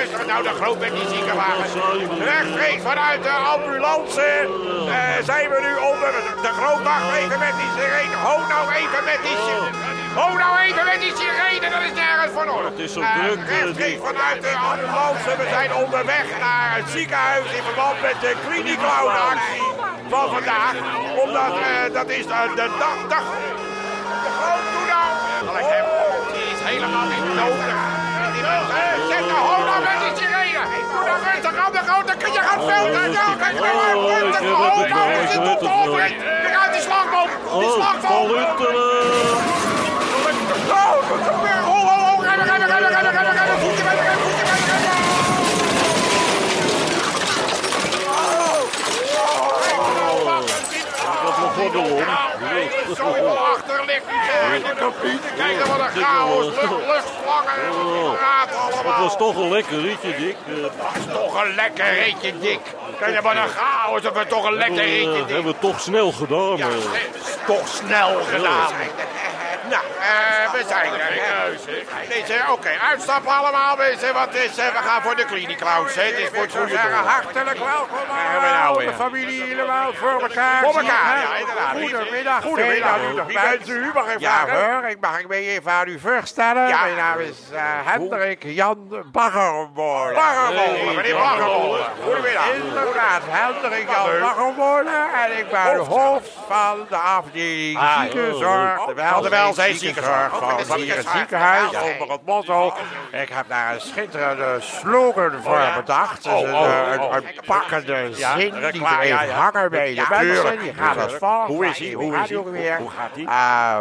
Rustig nou, de groot met die ziekenwagen. Rechtstreeks vanuit de ambulance eh, zijn we nu onder de- de groot. Wacht even met die sirene. Ho nou even met die sirene. Ho nou even met die sirene, dat is nergens van orde. Het is zo Eh, druk, eh, Rechtstreeks die- vanuit de ambulance. We zijn onderweg naar het ziekenhuis in verband met de kliniekloonactie van vandaag. Omdat eh, dat is eh, de dag... dag de groot, doe nou! Gelijk hem. Die is helemaal niet nodig. Zet de hola met die sirene! Doe nou rustig aan de grote, kun je gaan filmen! Ja, kijk maar, rustig, de hola, we zitten op de hoofdrit! We gaan die slagboom! Die Oh, slagboom! Valuteren. Oh, wat gebeurt? Ho, ho, ho, remmen, remmen, remmen, remmen, remmen, remmen, voetje, remmen, remmen, voetje, remmen, remmen! Oh, oh, oh. Dat begon erom. Nee, zoveel achter ligt die gehele cabine. Kijk dan wat een chaos, lucht, luchtslangen, raad allemaal. Het was toch een lekker rietje, Dick. Eh, Dat is toch een lekker ritje, Dick. Kijk dan wat een chaos, dat was toch een lekker ritje, eh, Dick. hebben we toch snel gedaan. Ja, eh. het is toch snel gedaan. Nou, eh, we zijn er. hè. Deze, Oké, uitstappen allemaal, mensen, want het is, eh, we gaan voor de kliniek, Klaus. hè. Het is voor het goede doel. hartelijk welkom allemaal. allemaal. De De familie helemaal voor elkaar. Voor elkaar, ja, inderdaad. Goedemiddag. Goedemiddag. Goedemiddag. Wie Bent bent u? u? Mag ik Ja, vragen? Ik mag ik me even aan u voorstellen? Ja. Mijn naam is eh, Hendrik Jan Baggermolen. Baggermolen, meneer Baggermolen. Goedemiddag. Inderdaad, Hendrik Jan leuk. Baggermolen. En ik ben hoofd van de afdeling Ah, ziekenzorg. oh, De Van de welzijn welzijnszorg ziekenzorg. van Van het de ziekenzorg. ziekenhuis. Ja. Onder het motto. Ik heb daar een schitterende slogan voor ja? bedacht. Dus Oh, een, oh, eh, oh. een, een pakkende Ja, zin die reclame, bleef ja, ja. hangen bij Ja, de mensen. tuurlijk, Die gaat als tuurlijk. volgt. Hoe is hij? Hoe is hij? ook weer? Hoe gaat hij? Eh,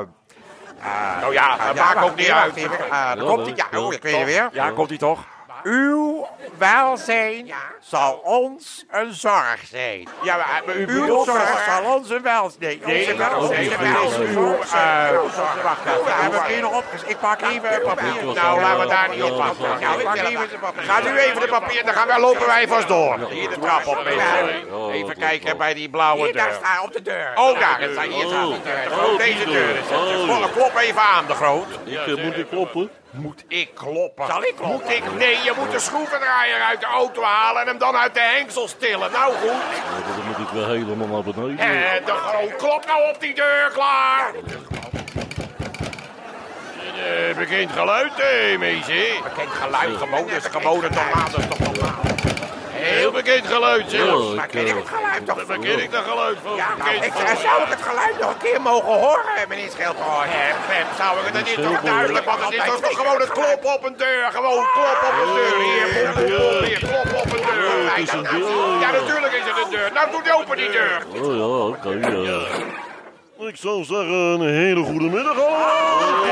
Nou ja, dat maakt ook niet uit. Ah, daar Ja, komt hij. leuk, Ja, leuk. oh, ik weet het weer. Ja, komt hij toch? Uw welzijn zal ons een zorg zijn. Ja, maar maar u Uw bedoelt zorg toch- zal onze welzijn... Nee, onze dat is welzijn. niet Wel, goed. uw, eh, Uw Wacht even, we hebben het hier nog opgeschreven. Ik pak even een papier. Uw Nou, laten we daar niet op Ja, wachten. Ja, ik pak even de papier. Gaat u even de papier, dan gaan wij, lopen wij vast door. Hier de trap op, mensen. dat Even doet kijken wel. bij die blauwe Hier, daar deur. staat op de deur. Oh, daar is hij. Hier staat Oh, de deur. De oh, groot, die Deze deur is het. deur. De Oh. volle- Klop even aan, de groot. Ik eh, moet ik kloppen. Moet ik kloppen? Zal ik kloppen? Moet ik? Nee, je moet de schroevendraaier uit de auto halen en hem dan uit de hengsel tillen. Nou goed. Ja, Dan moet ik wel helemaal naar beneden. Eh, de groot, klop nou op die deur, klaar. Eh, bekend geluid, hé, meisje. Bekend geluid, gewoon, dat is gewoon het normaal, dat is toch normaal. Heel bekend geluid, zeg. Ja, Maar ik, ken ik eh, het geluid toch? Dan ken ik dat geluid van. Ja, nou, Bekend ik geluid. zou ik het geluid nog een keer mogen eh, horen, meneer Schildhoorn. Pep, Pep, zou ik het? Dat is toch Schildhoorn. duidelijk, want het is toch toch gewoon het klop op een deur. Gewoon klop op een deur. Hier, boem, boem, boem, hier, klop op een deur. Ja, het is een deur. Ja, natuurlijk is het een deur. Nou, doe die open die deur. Oh ja, oké. eh. Ik zou zeggen, een hele goede middag allemaal.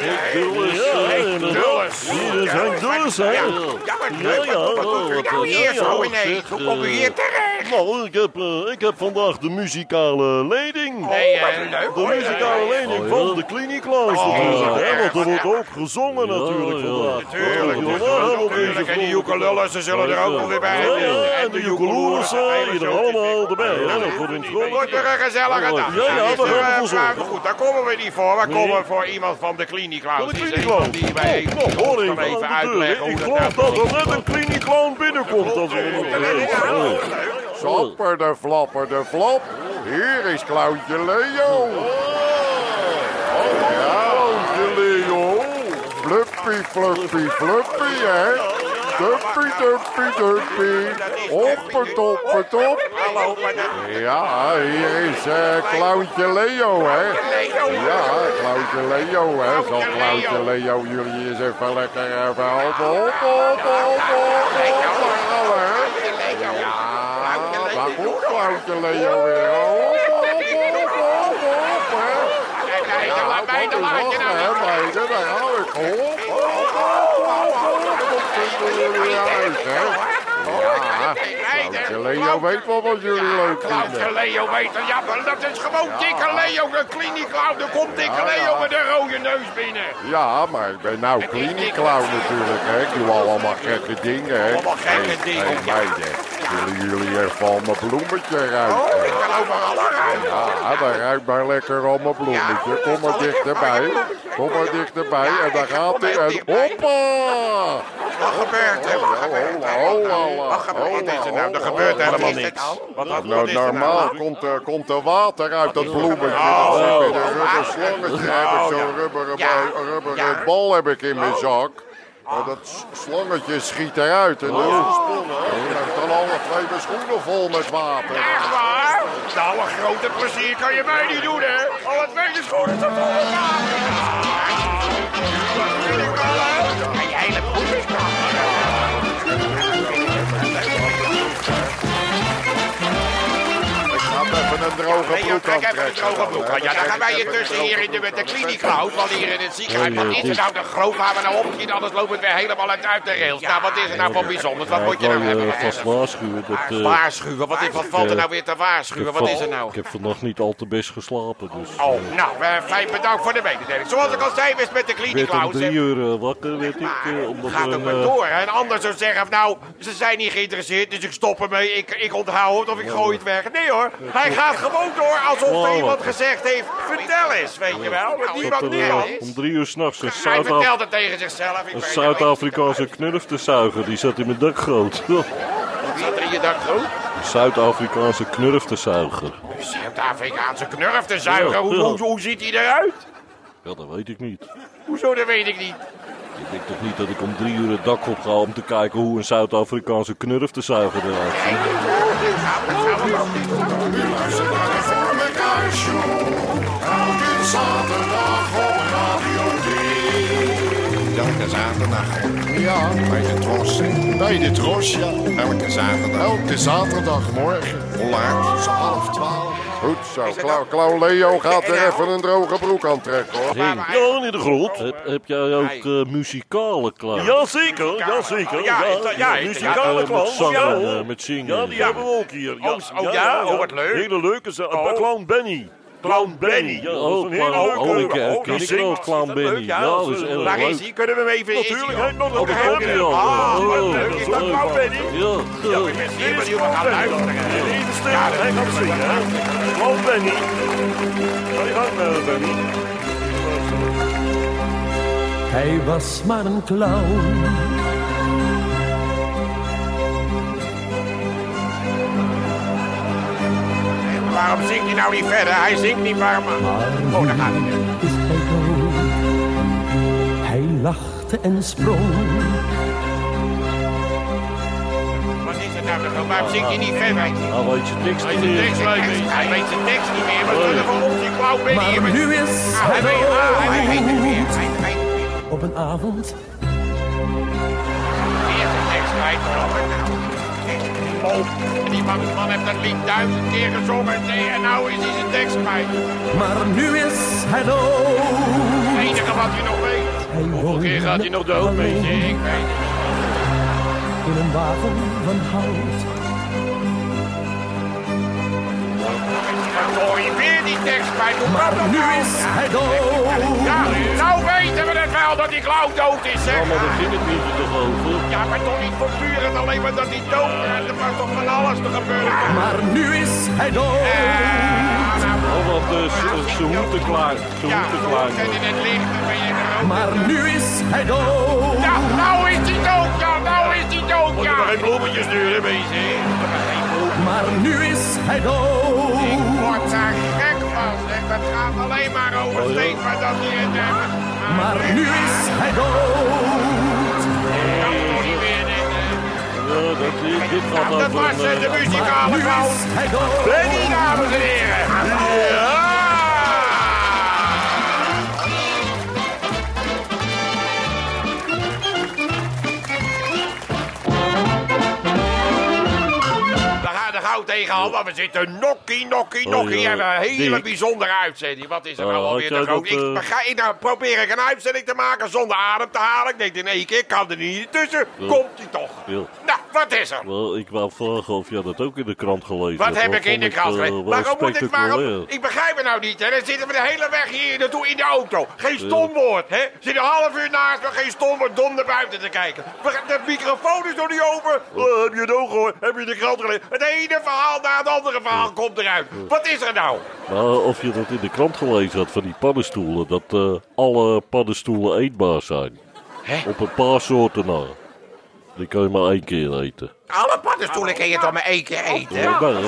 Henk Dulles. eh, Dulles. Hier is Henk Dulles, hè. Ja, Ja, maar ja, leuk, wat- wat doet u wat, nou eh, hier ja, zo ja, ineens? zeg, Hoe komt u eh, hier terecht? Nou, ik heb, eh, ik heb vandaag de muzikale leiding. Nee, wat eh, leuk, De hoor. muzikale leiding Oh, ja. van de Kliniekluis Oh, natuurlijk. ja. hè, want er wordt ook gezongen natuurlijk ja. vandaag. Tuurlijk, Ja, dus daar hebben we natuurlijk. deze En die joekelullers, ze zullen er ook wel weer bij Ja, ja, zijn. en de joekeloers, eh, die er allemaal erbij. hè, dat wordt in het Het wordt weer een gezellige dag. Ja, ja, Dat we is, eh, gaan ervoor maar zorgen. Goed, daar komen we niet voor. We komen Nee. voor iemand van de kliniek langs. Van de Is er klinieklaun. iemand Die wij Oh, oh, hoor ons kan even aan even de deur. uitleggen Ik hoe dat geloof nou dat er net een kliniekloon binnenkomt. als we Oh, er- leuk. Flapper de flapper de flap. Hier is Klauwtje Leo. Ja, Klauwtje Leo. Fluppy, fluppy, fluppy, hè. Duppy, duppy, duppy. Hoppertoppertop. Hallo, maar dat- Ja, hier is eh Klauwtje Leo, hè. Ja, Klauwtje Leo, hè. Zal Klauwtje Leo jullie eens even lekker even helpen? Hop, hop, hop, hop, hop. hè. Ja, waar komt Klauwtje Leo weer? Oh, Hop, hop, hop, hop, hop, oh, hè. Kijk, kijk, Ja, laat mij de dat is laatje lachen, hè, nou. meiden. Daar hou Oh, oh, ik. Hop, hop, hop, hop, hop, hop. Komt er weer uit, hè. Hop, Ja, Klauwtje Nou, Leo weet wel wat jullie leuk Klauwtje vinden. Leo weet het, ja, maar dat is gewoon Ja. dikke Leo, de kliniek Klauw. Er komt dikke Ja, Leo ja. met een rode neus binnen. Ja, maar ik ben nou kliniek clown natuurlijk, hè. Ik doe allemaal gekke dingen, hè. Allemaal gekke dingen, Hey, ja. meiden, willen jullie even al mijn bloemetje ruiken? Oh, ik kan overal aan. Ja, Ah, dan ruikt maar lekker al mijn bloemetje. Kom maar dichterbij. Kom maar dichterbij. En dan gaat hij en hoppa! Wat gebeurt er? Wat gebeurt er? Hola, hola, nou, Wat gebeurt er nou? Er gebeurt hola, helemaal hola. niks. Wat, wat, wat Nou, is er normaal nou? Oh. komt er, komt er water uit dat bloemetje. Dat heb ik met een rubber slangetje. Heb ik zo'n rubberen, Ja. ba- een Ja. rubberen bal heb ik in mijn zak. Maar dat s- slangetje schiet eruit. Oh, En dat is een spul, hè. Ik heb dan alle twee mijn schoenen vol met water. Echt waar? Nou, een grote plezier kan je mij niet doen, hè? Al het werk is gewoon tot volgende Ik ga even een droge Leo, broek trek even een aantrekken. droge broek aan. Ja, daar gaan wij je Even een tussen hier in de, met de droge broek kliniek Klaus, want hier in het ziekenhuis. Wat is er nou de groot waar we nou op zien? Anders loopt het weer helemaal uit, uit de rails. Nou, wat is er nou van bijzonders? Wat Ja, ik moet je wou nou je hebben? eh, vast waarschuwen. Dat, eh, Waarschuwen, wat, is, wat valt er nou weer te ik waarschuwen? heb Wat van- is er nou? Ik heb vannacht niet al te best geslapen, dus... eh, Oh, nou, eh, fijn bedankt voor de mededeling. Zoals ik al zei, was met de Ik kliniek werd om Klaus. drie uur eh, wakker, weet ik. Maar eh, het omdat gaat er ook een, maar eh, door. hè. Een ander zou zeggen, van, nou, ze zijn niet geïnteresseerd, dus ik stop ermee. Ik, ik onthoud het of ik gooi het weg. Nee hoor, hij gaat gewoon door alsof Wow. er iemand gezegd heeft, vertel eens, weet je wel. Want dat niemand, er eh, niemand. om drie uur s'nachts een, Hij Zuid vertelt het tegen zichzelf. Ik een weet Zuid-Afrikaanse knurf te zuigen. Die zat in mijn dak groot. het niet. Zat er in je dak goed? Een Zuid-Afrikaanse knurf te zuigen. Zuid-Afrikaanse knurf te zuigen. Ja, Hoe, ja. hoe, hoe ziet hij eruit? Ja, dat weet ik niet. Hoezo, dat weet ik niet. Nou, Ik denk toch niet dat ik om drie uur het dak op ga om te kijken hoe een Zuid-Afrikaanse knurf te zuigen eruit ziet. Elke zaterdag op Radio 3. Elke zaterdag Ja, bij de tros. bij de tros, ja. Elke zaterdag. Elke zaterdagmorgen. Hoe laat? half twaalf. Goed zo, Klauw, Klauw Leo gaat er nou? even een droge broek aan trekken hoor. Hey, Jan in de Oh. Grot, heb, heb jij ook eh, muzikale klaar? Jazeker, jazeker. Ja, is dat- ja, is- muzikale Eh, met clowns, ja. zingen, eh, met zingen. Ja, die hebben we ook hier. Ja, Oh, oh, ja? Oh, wat leuk. Hele leuke ze. Oh. Clown Benny. Clown Benny. Ja, dat is Oh, een hele clown, oh, ik leuke. eh, Oh, ken die ik wel, zingt. Clown Is dat leuk? Benny. Ja, dat is heel Waar is leuk. hij? Kunnen we hem even... is hij Natuurlijk, al? hij nog Oh, een daar keer. komt hij al. Ah, wat Ah, wat leuk. leuk. Is Is dat dat Clown Benny? Ja, ja. Ik ben zeer benieuwd, we gaan luisteren. Even stil, hij gaat zingen. hè. Clown Benny. Ga je gang, eh, Benny. Hij was maar een clown. Waarom zingt hij nou niet verder? Hij zingt niet, waarom... Oh, daar gaat hij weer. Is hij dood? Hij lachte en sprong. Wat is het nou? toch? Waarom zingt hij niet verder? Hij zingt- Nou, weet je tekst Hij niet weet de meer. tekst niet meer. Hij weet de tekst niet meer. Wat zullen we op die klauw binnen hier? Maar met- nu is Ah, hij weet ah, hij weet het weer. hij Hij weet het weer. dood. Op een avond Weer de tekst kwijt. Waarom het nou? Die man- Die man, die man heeft dat lied duizend keer gezongen. Nee, en nou is hij zijn tekst kwijt. Maar nu is hij dood. Het enige wat hij nog weet. Hij Hoeveel e keer gaat hij nog dood, weet eh. je? Ik weet het. In een wagen van hout. Dan hoor je weer die tekst kwijt. Hoe kan dat Maar nu nou? is hij dood. Ja, nou weten we het wel dat die klauw dood is, zeg. Maar daar ging het niet toch over. Ja, maar toch niet voor puur en alleen maar dat hij dood gaat. Er was toch van alles te gebeuren. Maar nu is hij dood. Ah, nou, Oh, wat eh, ze- ze hoeten klaar. Ze ja, hoeten klaar. en in het licht dan ben je er ook. Maar nu is hij dood. Ja, nou is hij dood, ja, nou is hij dood, ja. Geen bloemetjes sturen, ben Maar nu is hij dood. Ik word daar gek van, zeg. Dat gaat alleen maar over Oh, steeds maar dat hij het... eh, ah, Maar nu is hij dood. kan toch niet meer, dit, eh. Ja, dat, dit, dit gaat Nou, dat over was een... eh, eh, de Maar nu muzikale is klauw. hij dood. Benny, dames en heren. Ja! We gaan er gauw tegenaan, want we zitten nokkie, nokkie, Oh, nokkie. ja. En een hele Dick. bijzondere uitzending. Wat is er Ja, nou had alweer jij te groot? dat, Ik, eh, maar ga ik nou probeer ik een uitzending te maken zonder adem te halen? Ik denk in één keer, ik kan er niet tussen. Komt-ie toch? Ja. Nou, Wat is er? Wel, ik wou vragen of jij dat ook in de krant gelezen Wat hebt. heb Dat ik in vond de krant eh, gelegd? wel Waarom moet ik waarom? spectaculair. Ik begrijp het nou niet, hè? Dan zitten we de hele weg hier naartoe in de auto. Geen stomwoord, hè? Zit een half uur naast me, geen stomwoord, dom naar buiten te kijken. We gaan- De microfoon is nog niet open. Oh. Eh, heb je het ook gehoord? Heb je de krant gelezen? Het ene verhaal na het andere verhaal komt eruit. Wat is er nou? Maar eh, of je dat in de krant gelezen had van die paddenstoelen, dat eh, alle paddenstoelen eetbaar zijn. Op een paar soorten na. Die kan je maar één keer eten. Alle paddenstoelen kun je toch maar één keer eten? Ja, nee.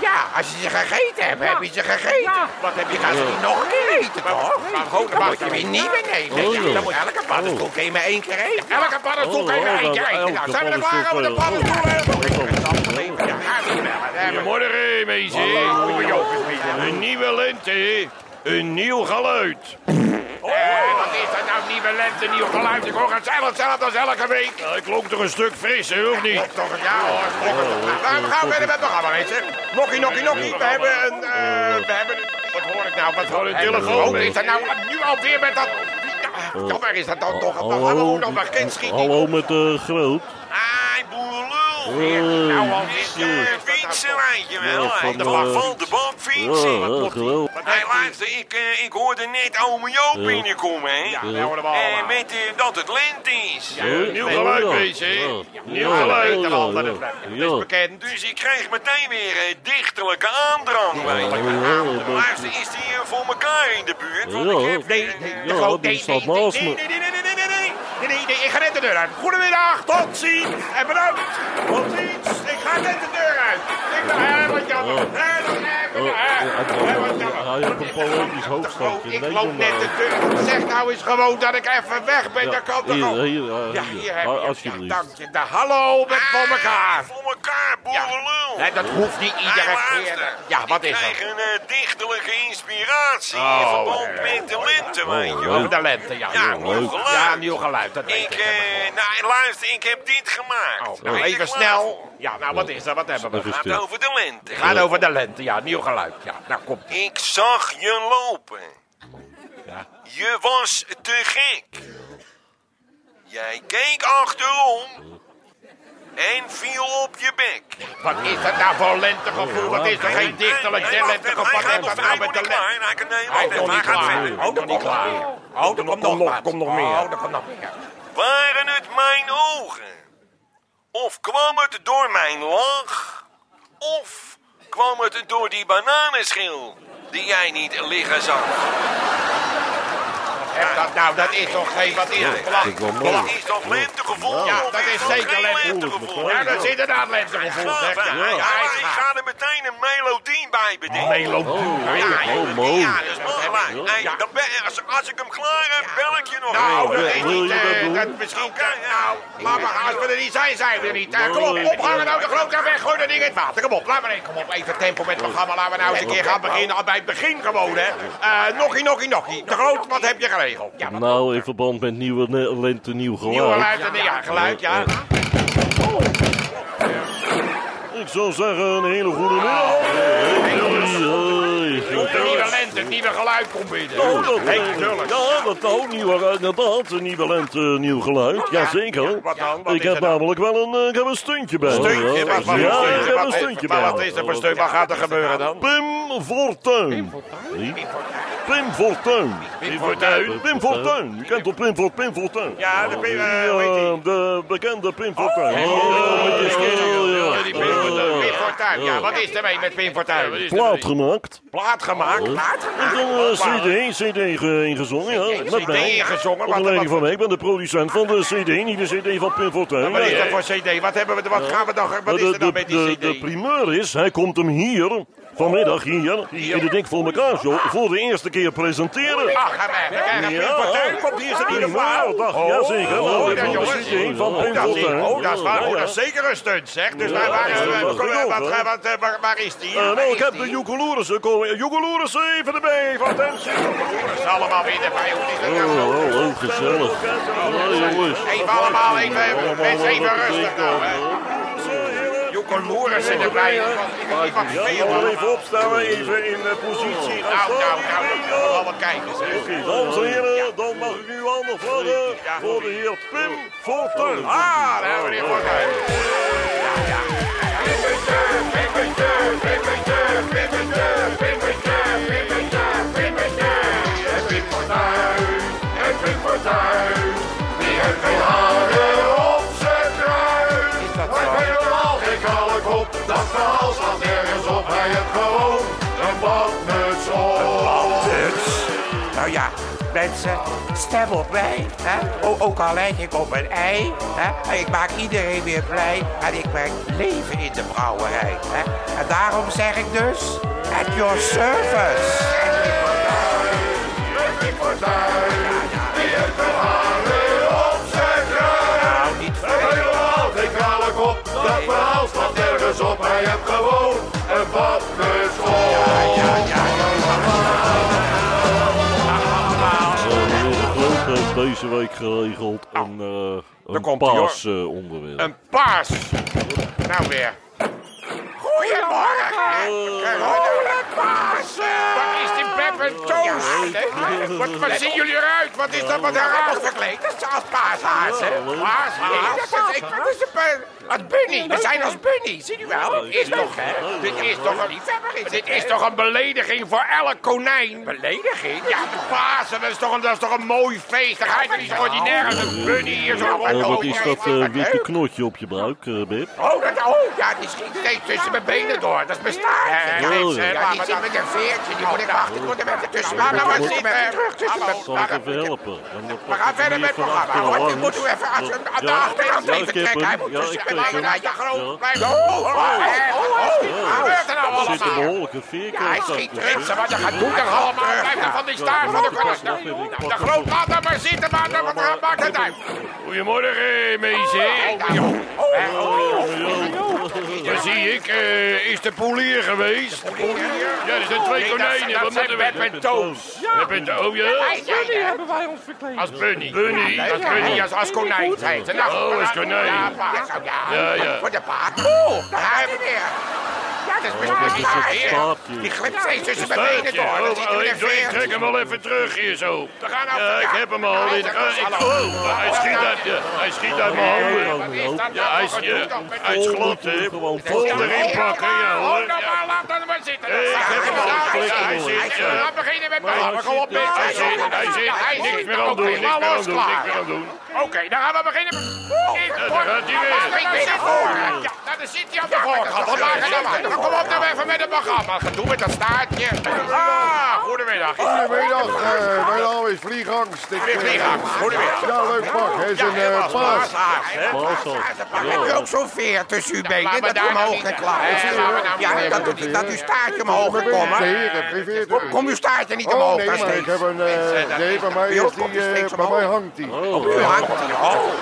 Ja, als je ze gegeten hebt, heb je ze gegeten. Wat heb je, gaan ze niet nog een keer eten, toch? Maar goed, dan mag je weer nieuwe nemen. Oh, Ja, dan joh. moet elke paddenstoel kun je maar één keer eten. Elke paddenstoel Oh, kun je maar oh, één keer nou, eten. Nou, elke zijn we er klaar over de paddenstoel, eh, paddenstoel? Ja, gaat niet meer. Goedemorgen, meisje. Een nieuwe lente. Een nieuw geluid. Eh, Wat is dat nou, nieuwe lente, nieuw geluid? Ik hoor hetzelfde zelf als elke week. Ja, ik klonk toch een stuk frisser, of niet? Oh, Klopt toch, ja hoor. klopt toch. Nou, we gaan verder met het programma, mensen. Nokkie, nokkie, nokkie. We hebben een... Oh, eh, we hebben een... Wat hoor ik nou? Wat hoor ik? een telefoon, Oh. Wat mens. is dat nou nu alweer met dat... Ja, Ja, waar is dat dan toch? Dat gaan we ook nog maar kind schieten. Oh, hallo met de groot. Ai, boerenlul. Hey, Nou, al is shit. je Fietsen, weet je wel. Ja, hè. van, de eh, waarvan de bank fietsen. Ja, ja, geweldig. Hey, luister, ik, eh, ik hoorde net ome Joop binnenkomen, hè. Ja, we houden hem En allemaal. met eh, dat het lente is. Nieuw geluid, meisje. Nieuw geluid. Leuk, de hand aan de vrouw. Dat is bekend. Dus ik kreeg meteen weer eh, dichterlijke aandrang, weet je wel. Luister, is die hier voor elkaar in de buurt? Want ik Ja. heb... eh, Nou, Nee, nee, de Ja, groot- die nee, staat nee, nee, naast nee, me. nee, nee, nee, nee, nee, nee, nee. Nee, nee, nee, ik ga net de deur uit. Goedemiddag, tot ziens en bedankt. Tot ziens, ik ga net de deur uit. Ik ben heel wat jammer. Oh. Hè, wat Oh, jammer, ja, hè. Hè, wat Hij jammer. heeft een poëtisch Oh, hoofdstapje. Ik Nee, loop doe net de maar. deur. Zeg nou eens gewoon dat ik even weg ben. Ja, Dat kan hier, toch ook? hier, eh, Ja, hier. hier heb Ah, je. hem. Ja, alsjeblieft. dank je. Nou, Hallo, met voor elkaar. Voor elkaar, boerenlul. Nee, dat hoeft niet Hey, iedere luister, keer. Ja, wat is Oh, Ik dat? kreeg een eh, dichterlijke inspiratie in verband met de lente, weet je wel. Over de lente, Oh, ja. Ja, joh. nieuw geluid. Ja, nieuw geluid, dat weet Ik, ik. eh, nou, luister, ik heb dit gemaakt. Oh, nou, Ben je even klaar voor? snel. Ja, nou, wat is dat? Wat hebben we? Even Het stil. gaat over de lente. Gaat over de lente, ja. Nieuw geluid, ja. Nou, komt ie. Ik zag je lopen. Je was te gek. Jij keek achterom en viel op je bek. Wat is dat nou voor lentegevoel? Wat is er geen dichterlijk Nee, wacht even, lentegevoel? hij Wat gaat heeft nog dat hij nou wordt met de niet lente? klaar. Hij kan- nee, Hij is wacht even, nog hij niet gaat klaar. verder. Hij is nog niet klaar. Oh, er komt nog meer. Komt nog meer. Oh, er komt nog meer. Waren het mijn ogen? Of kwam het door mijn lach? Of kwam het door die bananenschil die jij niet liggen zag? Heb dat nou, dat is toch geen... Wat is dit? Belachelijk. Dat is toch lentegevoel? Ja, Of dat is dat zeker geen lentegevoel. Ja, dat is inderdaad lentegevoel, Gaaf, zeg. hè? Ja, Ja, hij maar is Ik gaaf. ga er meteen een melodie bij bedenken. Melodie. Oh, Ja, oh, ja, oh, mooi. Ja, dat is mogelijk. Hey, dan ben- als, als ik hem klaar heb, bel ik je nog. Nou, even. dat is wil niet, je dat eh, doen? dat misschien, eh, nou, laat maar, als we er niet zijn, zijn we er niet. Eh, kom op, Nee. ophangen nou de groot aan weg, gooi dat ding in het water. Kom op, laat maar in, kom op, even tempo met het programma, laten we nou eens een keer gaan beginnen, al bij het begin gewoon, hè. Eh, nokkie, nokkie, nokkie. De groot, wat heb je geregeld? Ja, wat- Nou, eh, in verband met nieuwe ne- lente, nieuw nieuwe geluid. luid en ja, geluid, eh, ja. Ik zou zeggen, een hele goede middag. Hey, hey. De nieuwe lente, het nieuwe geluid komt binnen. Oh, dat, Hey, eh, tuurlijk. ja, dat nou, nieuw, inderdaad, een nieuwe lente, een nieuw geluid. Jazeker. ja, wat dan? Wat ik is heb er dan? namelijk wel een, eh, ik heb een stuntje bij. me. Stuntje, ja, wat- wat- ja, wat- ik heb een wat- eh, stuntje maar bij. wat me. is er voor stunt? Wat gaat er gebeuren dan? Pim Fortuyn. Wie? Pim Fortuyn. Pim Fortuyn? Pim Fortuyn. Je kent toch Pim, Fort- Pim Fortuyn? Ja, de Pim, eh, hoe heet die? Eh, de bekende Pim Fortuyn. Oh, Oh, ja. Die Pim Fortuyn. Pim Fortuyn, ja, wat is er mee met Pim Fortuyn? Plaat gemaakt. Plaat gemaakt. Plaat En dan eh, CD, CD inge- ingezongen, ja. CD Met mij. ingezongen, wat- Onder leiding wat- van mij. Ik ben de producent van de CD, niet de CD van Pim Fortuyn. Wat is Ja, dat ja. voor CD? Wat, hebben we, wat gaan we dan? Wat is de, er dan de, met die de, CD? de primeur is, hij komt hem hier, vanmiddag hier, in de Dik voor elkaar show, voor de eerste keer presenteren. Ach, ga weg. We krijgen Pim Fortuyn. Komt hier zijn nieuwe Primeur, dag, jazeker. Oh, Nou, dat dit jongens. is de CD van Pim dat is, Fortuyn. oh, dat is, waar, Ja, oh, ja. dat is zeker een stunt, zeg. Dus Ja, daar waren dat is we- wel kom, genoeg, wat, hè? wat, eh, waar, waar is die? Eh, Waar nou, is ik heb die? de Joekeloerissen komen. Joekeloerissen, even erbij, van attentie. Jongens, allemaal weer erbij. Hoe is dat nou? Oh, oh, oh, gezellig. Ja, jongens. Even allemaal, even, mensen even rustig nou. hè. Joeke Loeren zit erbij. Ik heb niet wat Ja, veel. allemaal Nou, even opstaan, even in eh, positie. gaan nou, staan. nou, dat gaan we allemaal kijken, zeg. Oké, dames en heren, dan mag ik u al handen voor de, voor de heer Pim Fortuyn. Ah, daar hebben we die voor. Dus, nou ja, mensen, stem op mij. Hè? O- ook al lijk ik op een ei. Hè? Ik maak iedereen weer blij. En ik breng leven in de brouwerij. Hè? En daarom zeg ik dus, at your service. Nou, niet veel. Meneer de Groot heeft deze week geregeld een, eh Nou, daar een komt hij, hoor. paas eh, onderwerp. Een paas. Nou weer. Goedemorgen. Goedemorgen Pasen. Wat is die pep en toast? Hè? Wat, wat zien jullie eruit? Wat is dat? Wat daar allemaal verkleed? Dat zijn als paashaas, hè? Paashaas? Dat is, ik, dat is een pa- als bunny. We zijn als bunny. Zie je wel? Dit is toch, hè? Dit is toch een Dit is toch een belediging voor elk konijn? Belediging? Ja, Pasen. Dat is toch een, dat is toch een mooi feest. Dan ga je niet zo ordinair als een bunny hier zo Eh, wat is dat eh, Leuk. witte knotje op je buik, eh Bib? Oh, dat, oh, ja, die schiet steeds tussen mijn benen door. Dat is mijn staartje. Ja, Oh, mensen, ja. laat maar Oh, nou, zitten met een veertje. Die moet ik wachten. Ik moet hem even tussen. Laat maar maar zitten. Terug tussen mijn Zal ik even helpen? Dan, eh, We gaan pak ik hem verder hier met het van programma. achteren Hoor, langs. u moet u even aan zijn- aan de Ja, achterkant ja, ik even heb trekken. Hij hem. moet dus Ja, tussen ik mijn trek hem. benen. Ja, groot. Ja. Blijf. Oh, oh, oh, oh, Wat gebeurt er nou Er zit een allemaal? behoorlijke veerkracht Ja, hij aan schiet tussen. ripsen, wat je gaat doen, dan allemaal. Blijf dan van die staart van de kast. Nou, De groot, laat hem maar zitten, maar dan maakt het uit. Goedemorgen, meisje. Oh, joh. Oh, oh, oh. Dan zie ik, eh, is de poel hier geweest? Ja, er zijn twee konijnen. Wat moeten we? Pep en Toos. We bent de oh ja? Wij zijn er. Als bunny. Bunny. Nee, Als dat kun je bunny. niet als, als konijn zijn. Ze lachen. Oh, als konijn. Ja, paard. Ja, ja. Ja, ja. Voor de paard. Oh, daar hebben we weer. Ja, dat is dat best is wel een staartje. Die glipt steeds tussen mijn benen Buitje. door. Dat ziet Oh, er oh, weer ik doe- ik trek veer. hem wel even terug hier zo. We gaan af. Ja, ik heb hem al. in de- ah, ik- Oh, hij schiet uit, ja, hij schiet uit mijn handen. Wat is dat Ja, nou hij is, voor ja, gedoe toch met- hij is glad, hè. Gewoon Vol erin pakken, ja hoor. Oh, nou Ja, maar, laat dat maar zitten. Hey, ik heb hem al. Ja, hij zit, ja. Laat beginnen met mij. hij Maar kom op, zit, mensen. hij zit, hij zit. Niks meer aan doen, Oké, niks meer aan alles doen, klaar. niks meer aan doen. Oké, dan gaan we beginnen. Ja, daar gaat hij weer. Ja, daar zit hij aan de voorkant. Dan maken we dat. Dan Kom op nou even met het programma. Gedoe met dat staartje. Ah, goedemiddag. Goedemiddag, eh, mijn naam is Vliegangst. Ik, eh, Vliegangst, goedemiddag. Ja, leuk pak. Hij is een eh, paas. Heb u ook zo'n veer tussen uw benen maar dat u daar nou omhoog niet. en klaar Nee, is? laten we daar nou niet Ja, even dat, doet, dat uw staartje omhoog Nee, kan komen. ik heb geen veer. Kom uw staartje niet Oh, omhoog, nee, daar maar ik steeds. heb een... eh, Nee, bij mij, Bij ons is die, komt die eh, steeds bij mij omhoog. hangt die. Oh, U hangt hier. Oh,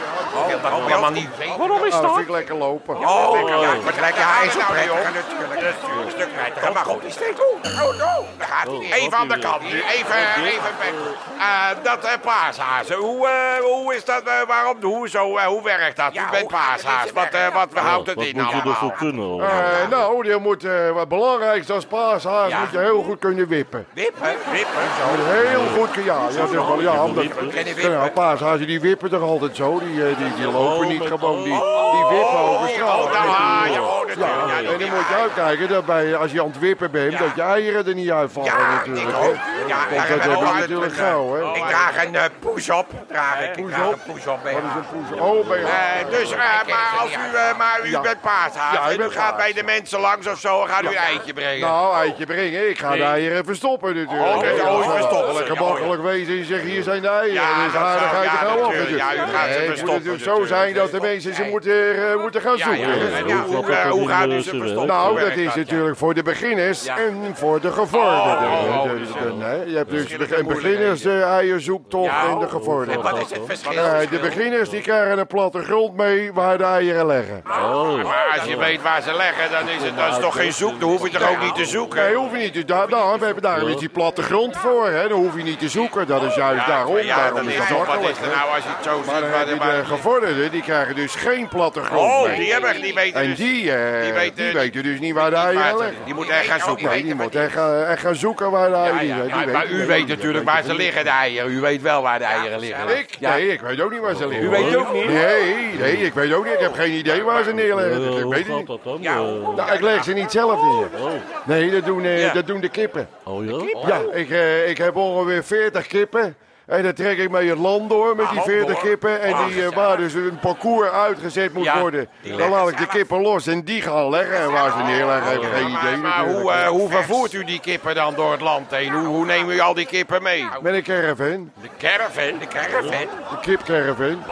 ik wil dat ook helemaal niet weten. dat vind ik lekker lopen. Oh, ja, maar trek je haar is op, hè, joh. natuurlijk. Een stuk prettiger, Maar maar goed, goed. die steekt op. Oh, no. Daar gaat hij. Oh, Even aan de kant nu. Even, even. eh, dat eh, paashazen. Hoe, eh, hoe is dat? eh, waarom? Hoe, zo, eh, hoe werkt dat? Ja, U bent hoe gaat het? paashaas. Is Wat, het eh, werk? wat houdt Oh, Wat het moet in je ervoor allemaal? Oh, kunnen? hoor? Eh, nou, die moet, eh, wat belangrijkste als paashaas Ja. moet je heel goed kunnen wippen. Wippen, wippen, Je zo. moet heel goed kunnen, ja, ja, dat is wel, ja, omdat, Ken je wippen? ja, paashazen die wippen toch altijd zo, die, eh, die, die lopen Oh, niet met- gewoon, die, die wippen over straat. Oh, nou, ah, ja, oh, Ja, natuurlijk. Ja, en dan moet je uitkijken dat bij, als je aan het wippen bent, dat je eieren er niet uitvallen Ja, ik natuurlijk. ook. hè. Ja, Want ik dat ben heb ook je natuurlijk altijd, eh, gauw, hè. oh, Ik draag een eh, push-up. Draag ik. Ik draag een push-up bij Wat is haar. een poes? Oh, ben je... Eh, dus, eh, Hij kent maar, ze als u, niet eh, maar u Ja. bent paashaas. Ja, ik en u ben gaat bij de paashaas. mensen langs of zo. Gaat u een eitje brengen. Nou, eitje brengen. Ik ga de eieren verstoppen natuurlijk. Oh, dat is ooit verstoppen. Lekker Ja, makkelijk wezen en zeggen, hier zijn de eieren. Ja, dus dat aardig zou- ga je ja, er gauw af natuurlijk. Ja, natuurlijk. u gaat ze Nee, verstoppen Het moet natuurlijk zo natuurlijk. zijn dat de mensen ze moeten, eh, moeten gaan ja, ja, zoeken. ja, ja, Hoe hoe, gaat eh, dat hoe in gaat de u ze wereld? verstoppen? Nou, Hoe dat werkt is natuurlijk voor de beginners en voor de Oh, oh, oh, gevorderden. Dus, dus, dan, hè, Je hebt dus Verschillende een beginners-eierzoektocht Ja, en de oh, gevorderden. Wat is het verschil? Eh, de beginners die krijgen een platte grond mee waar de eieren leggen. Oh, Maar als je weet waar ze leggen, dan is het dat is toch geen zoek. Dan hoef je toch ook niet te zoeken. Nee, hoef je niet. te- Daar, daar, we hebben daar weer die platte grond voor. Hè. Daar hoef je niet te zoeken, dat is juist daarom. Ah, ja, dat daarom is is dat toch wat makkelijk. is er nou als je het zo ziet. Maar dan waar heb de- je waar de de- gevorderden, die krijgen dus geen plattegrond Oh, mee. die hebben die weten en dus- die, eh, die die, weten- weten, die- dus niet waar de eieren waar ze- liggen. Die moeten echt gaan zoeken. Nee, die moet echt, gaan- echt gaan zoeken waar de eieren ja, liggen. ja, Die maar weten- u die weet weten- natuurlijk die waar ze weten- liggen, de eieren. U weet wel waar de eieren liggen. Ik? Nee, ik weet ook niet waar ze liggen. U weet ook niet? Nee, nee, ik weet ook niet. Ik heb geen idee waar ze neerleggen. Eh, Dus ik hoe weet het gaat niet. dat dan? Ja, Eh, Nou, ik leg ze niet zelf neer. oh, Nee, dat doen, eh, Ja. dat doen de kippen. oh ja? Ja, ik, eh, ik heb ongeveer 40 kippen. En dan trek ik mee het land door met Ah, die 40 kippen. En die, eh, waar dus een parcours uitgezet moet Ja, worden. die Dan leggen laat ze ik de kippen los en die gaan leggen. En waar ze neerleggen, heb ik geen idee. Maar natuurlijk. hoe, eh, hoe vervoert u die kippen dan door het land heen? Hoe, hoe neemt u al die kippen mee? Nou, Met een caravan, De caravan, de caravan. een kipcaravan.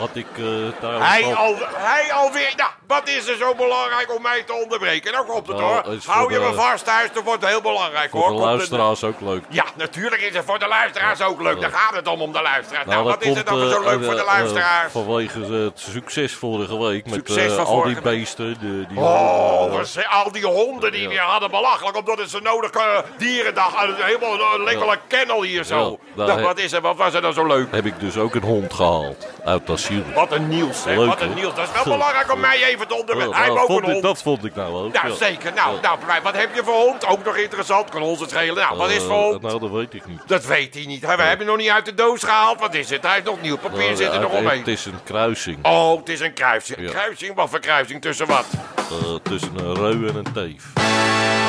Had ik eh thuis Hij, al... al, hij alweer. Nou, wat is er zo belangrijk om mij te onderbreken? Nou komt het Nou, hoor. is voor Hou je de- me vast thuis, dat wordt heel belangrijk Voor hoor. de Komt het- luisteraars ook leuk. Ja, natuurlijk is het voor de luisteraars ook leuk. Daar gaat het om, om de luisteraars. Nou, wat is er dan eh, zo leuk eh, voor de eh, luisteraars? vanwege het succes vorige week met Succes eh, van al die vorige week. beesten. De, die Oh, wat ze- al die honden die Ja. we hadden belachelijk, omdat het zo nodig eh, dierendag. eh, helemaal een lekkere kennel hier zo. Ja, daar nou, he- wat, is er, wat was er dan zo leuk? heb ik dus ook een hond gehaald uit asiel. Wat een Niels, hè? Leuk, wat een hè? Niels. Dat is wel Goed, belangrijk om goed. mij even te onderwerpen. Ja, Hij nou, heeft ook vond een ik, hond. dat vond ik nou ook. Nou, ja. zeker. Nou, Ja. nou, Blij, wat heb je voor hond? Ook nog interessant. Kan ons het schelen. Nou, wat is voor Eh, hond? Nou, dat weet ik niet. Dat weet hij niet. We hebben nog niet uit de doos gehaald. Wat is het? Hij heeft nog nieuw papier Nou, zit er nog het- omheen. Het is een kruising Oh, het is een kruising. Ja. Kruising? Wat voor kruising? Tussen wat? eh, tussen een reu en een teef.